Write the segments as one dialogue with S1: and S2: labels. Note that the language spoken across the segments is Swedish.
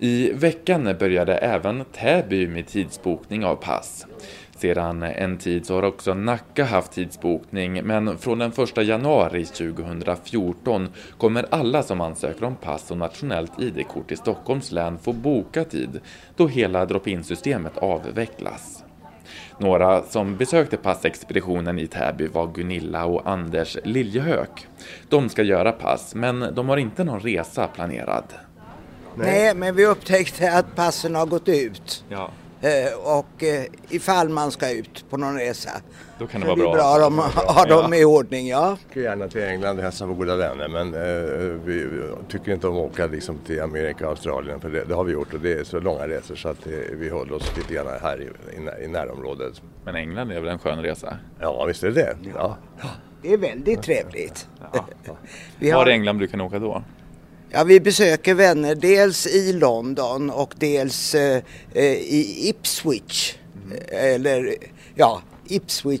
S1: I veckan började även Täby med tidsbokning av pass. Sedan en tid så har också Nacka haft tidsbokning, men från den 1 januari 2014 kommer alla som ansöker om pass och nationellt ID-kort i Stockholms län få boka tid, då hela drop-in-systemet avvecklas. Några som besökte passexpeditionen i Täby var Gunilla och Anders Liljehök. De ska göra pass, men de har inte någon resa planerad.
S2: Nej. men vi upptäckte att passen har gått ut.
S1: Ja,
S2: Eh, Och eh, ifall man ska ut på någon resa.
S1: då kan
S2: Så
S1: det
S2: det är
S1: vara bra.
S2: bra om man har dem i ordning, ja.
S3: åker gärna till England och hälsar på goda vänner men eh, vi tycker inte om att åka liksom, till Amerika och Australien för det, det har vi gjort och det är så långa resor så att eh, vi håller oss lite grann här i, i, när- i närområdet.
S1: Men England är väl en skön resa?
S3: Ja visst är det det. Ja.
S2: Det är väldigt trevligt.
S1: Var i
S2: Vi, har,
S1: England brukar ni åka då?
S2: ja, vi besöker vänner dels i London och dels eh, eh, i Ipswich. eh, Eller ja,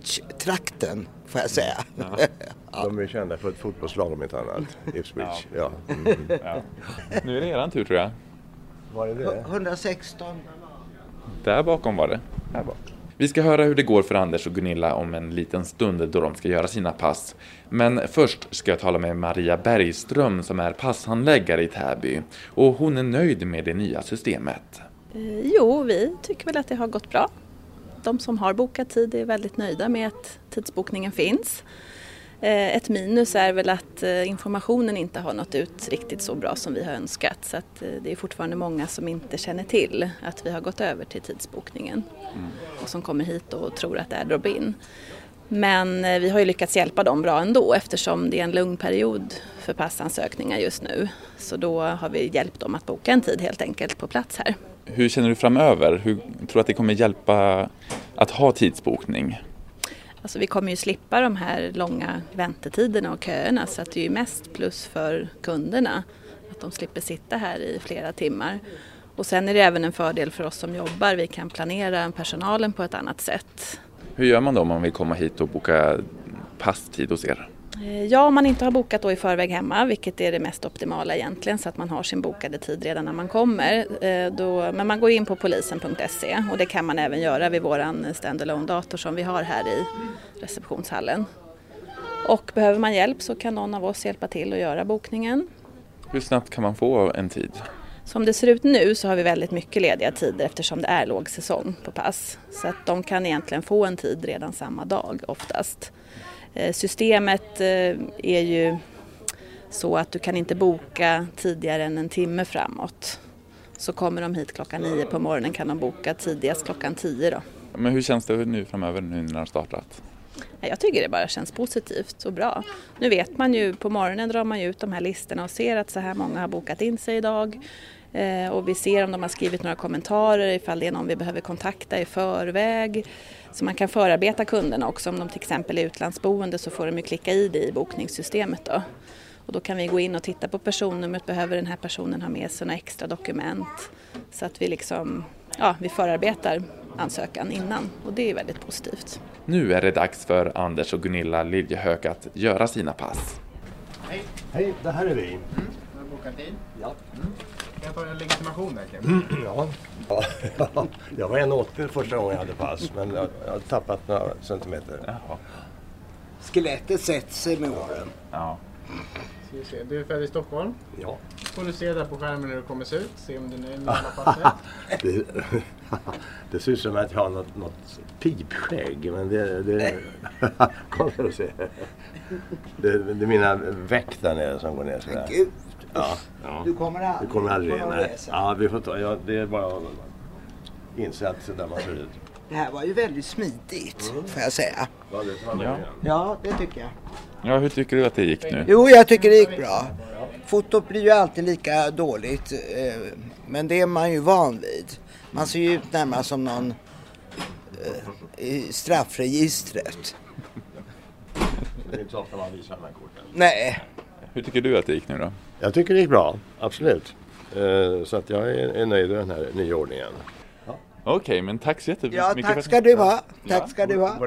S2: Ipswich-trakten får jag säga.
S3: De är kända för ett fotbollslag om inte annat, Ipswich. Ja. Mm.
S1: Ja. Nu är det eran tur tror jag.
S3: Var är det?
S2: 116
S1: Där bakom var det. Här bak. Vi ska höra hur det går för Anders och Gunilla om en liten stund då de ska göra sina pass. Men först ska jag tala med Maria Bergström som är passhandläggare i Täby och hon är nöjd med det nya systemet.
S4: Eh, Jo, vi tycker väl att det har gått bra. De som har bokat tid är väldigt nöjda med att tidsbokningen finns. Eh, Ett minus är väl att eh, informationen inte har nått ut riktigt så bra som vi har önskat så att eh, det är fortfarande många som inte känner till att vi har gått över till tidsbokningen och som kommer hit och tror att det är drop-in. Men eh, vi har ju lyckats hjälpa dem bra ändå eftersom det är en lugn period för passansökningar just nu. Så då har vi hjälpt dem att boka en tid helt enkelt på plats här.
S1: Hur känner du framöver? Hur tror du att det kommer hjälpa att ha tidsbokning?
S4: Alltså vi kommer ju slippa de här långa väntetiderna och köerna så att det är ju mest plus för kunderna att de slipper sitta här i flera timmar. Och sen är det även en fördel för oss som jobbar, vi kan planera personalen på ett annat sätt.
S1: Hur gör man då om man vill komma hit och boka passtid hos er?
S4: Eh, Ja, om man inte har bokat då i förväg hemma, vilket är det mest optimala egentligen, så att man har sin bokade tid redan när man kommer. eh, Då, men man går in på polisen.se och det kan man även göra vid våran standalone dator som vi har här i receptionshallen. Och behöver man hjälp så kan någon av oss hjälpa till att göra bokningen.
S1: Hur snabbt kan man få en tid?
S4: Som det ser ut nu så har vi väldigt mycket lediga tider eftersom det är låg säsong på pass. Så att de kan egentligen få en tid redan samma dag oftast. Eh, Systemet eh, är ju så att du kan inte boka tidigare än en timme framåt. Så kommer de hit klockan nio på morgonen kan de boka tidigast klockan tio då.
S1: Men hur känns det nu framöver nu när det har startat?
S4: Nej, Jag tycker det bara känns positivt och bra. Nu vet man ju, på morgonen drar man ju ut de här listorna och ser att så här många har bokat in sig idag. Eh, och vi ser om de har skrivit några kommentarer, ifall det är någon vi behöver kontakta i förväg. Så man kan förarbeta kunderna också, om de till exempel är utlandsboende så får de ju klicka i det i bokningssystemet då. Och då kan vi gå in och titta på personnumret, behöver den här personen ha med sig några extra dokument? Så att vi liksom, ja, vi förarbetar ansökan innan och det är väldigt positivt.
S1: Nu är det dags för Anders och Gunilla Liljehök att göra sina pass.
S3: Hej, det här är vi.
S5: Har du bokat in?
S3: Ja.
S5: Mm. Kan jag ta en legitimation där Kevin?
S3: Ja. Ja. Jag var 1,80 första gången jag hade pass men jag jag har tappat några centimeter.
S2: Skelettet sätter sig med åren.
S1: Ja.
S5: Ska vi se. Du är född i Stockholm.
S3: Ja.
S5: får du se där på skärmen hur det kommer se ut. Se om du är nöjd med alla papper.
S3: Det, det ser ut som att jag har något, något pipskägg. Men det, det, kom för att se. Det, det är mina veck där nere som går ner sådär.
S2: Gud,
S3: Ja, ja.
S2: du kommer
S3: Det
S2: aldrig
S3: kommer aldrig.
S2: på någon
S3: Nej.
S2: resa.
S3: Ja, vi får ta, ja, det är bara att inse att så där man ser ut.
S2: Det här var ju väldigt smidigt får jag säga.
S3: Ja, det tar man
S1: Ja.
S3: igen.
S2: Mm. Ja, det tycker jag.
S1: ja, hur tycker du att det gick nu?
S2: Jo, jag tycker det gick bra. Fotot blir ju alltid lika dåligt, eh, men det är man ju van vid. Man ser ju ut närmast som någon eh, i straffregistret.
S3: Det är inte så ofta man visar de här korten.
S2: Nej,
S1: Hur tycker du att det gick nu då?
S3: Jag tycker det gick bra, absolut. Eh, Så att jag är, är nöjd med den här nya ordningen.
S1: Okej, men tack så jättemycket
S2: ja
S1: för-
S2: tack ska du ha. Tack ska du ha.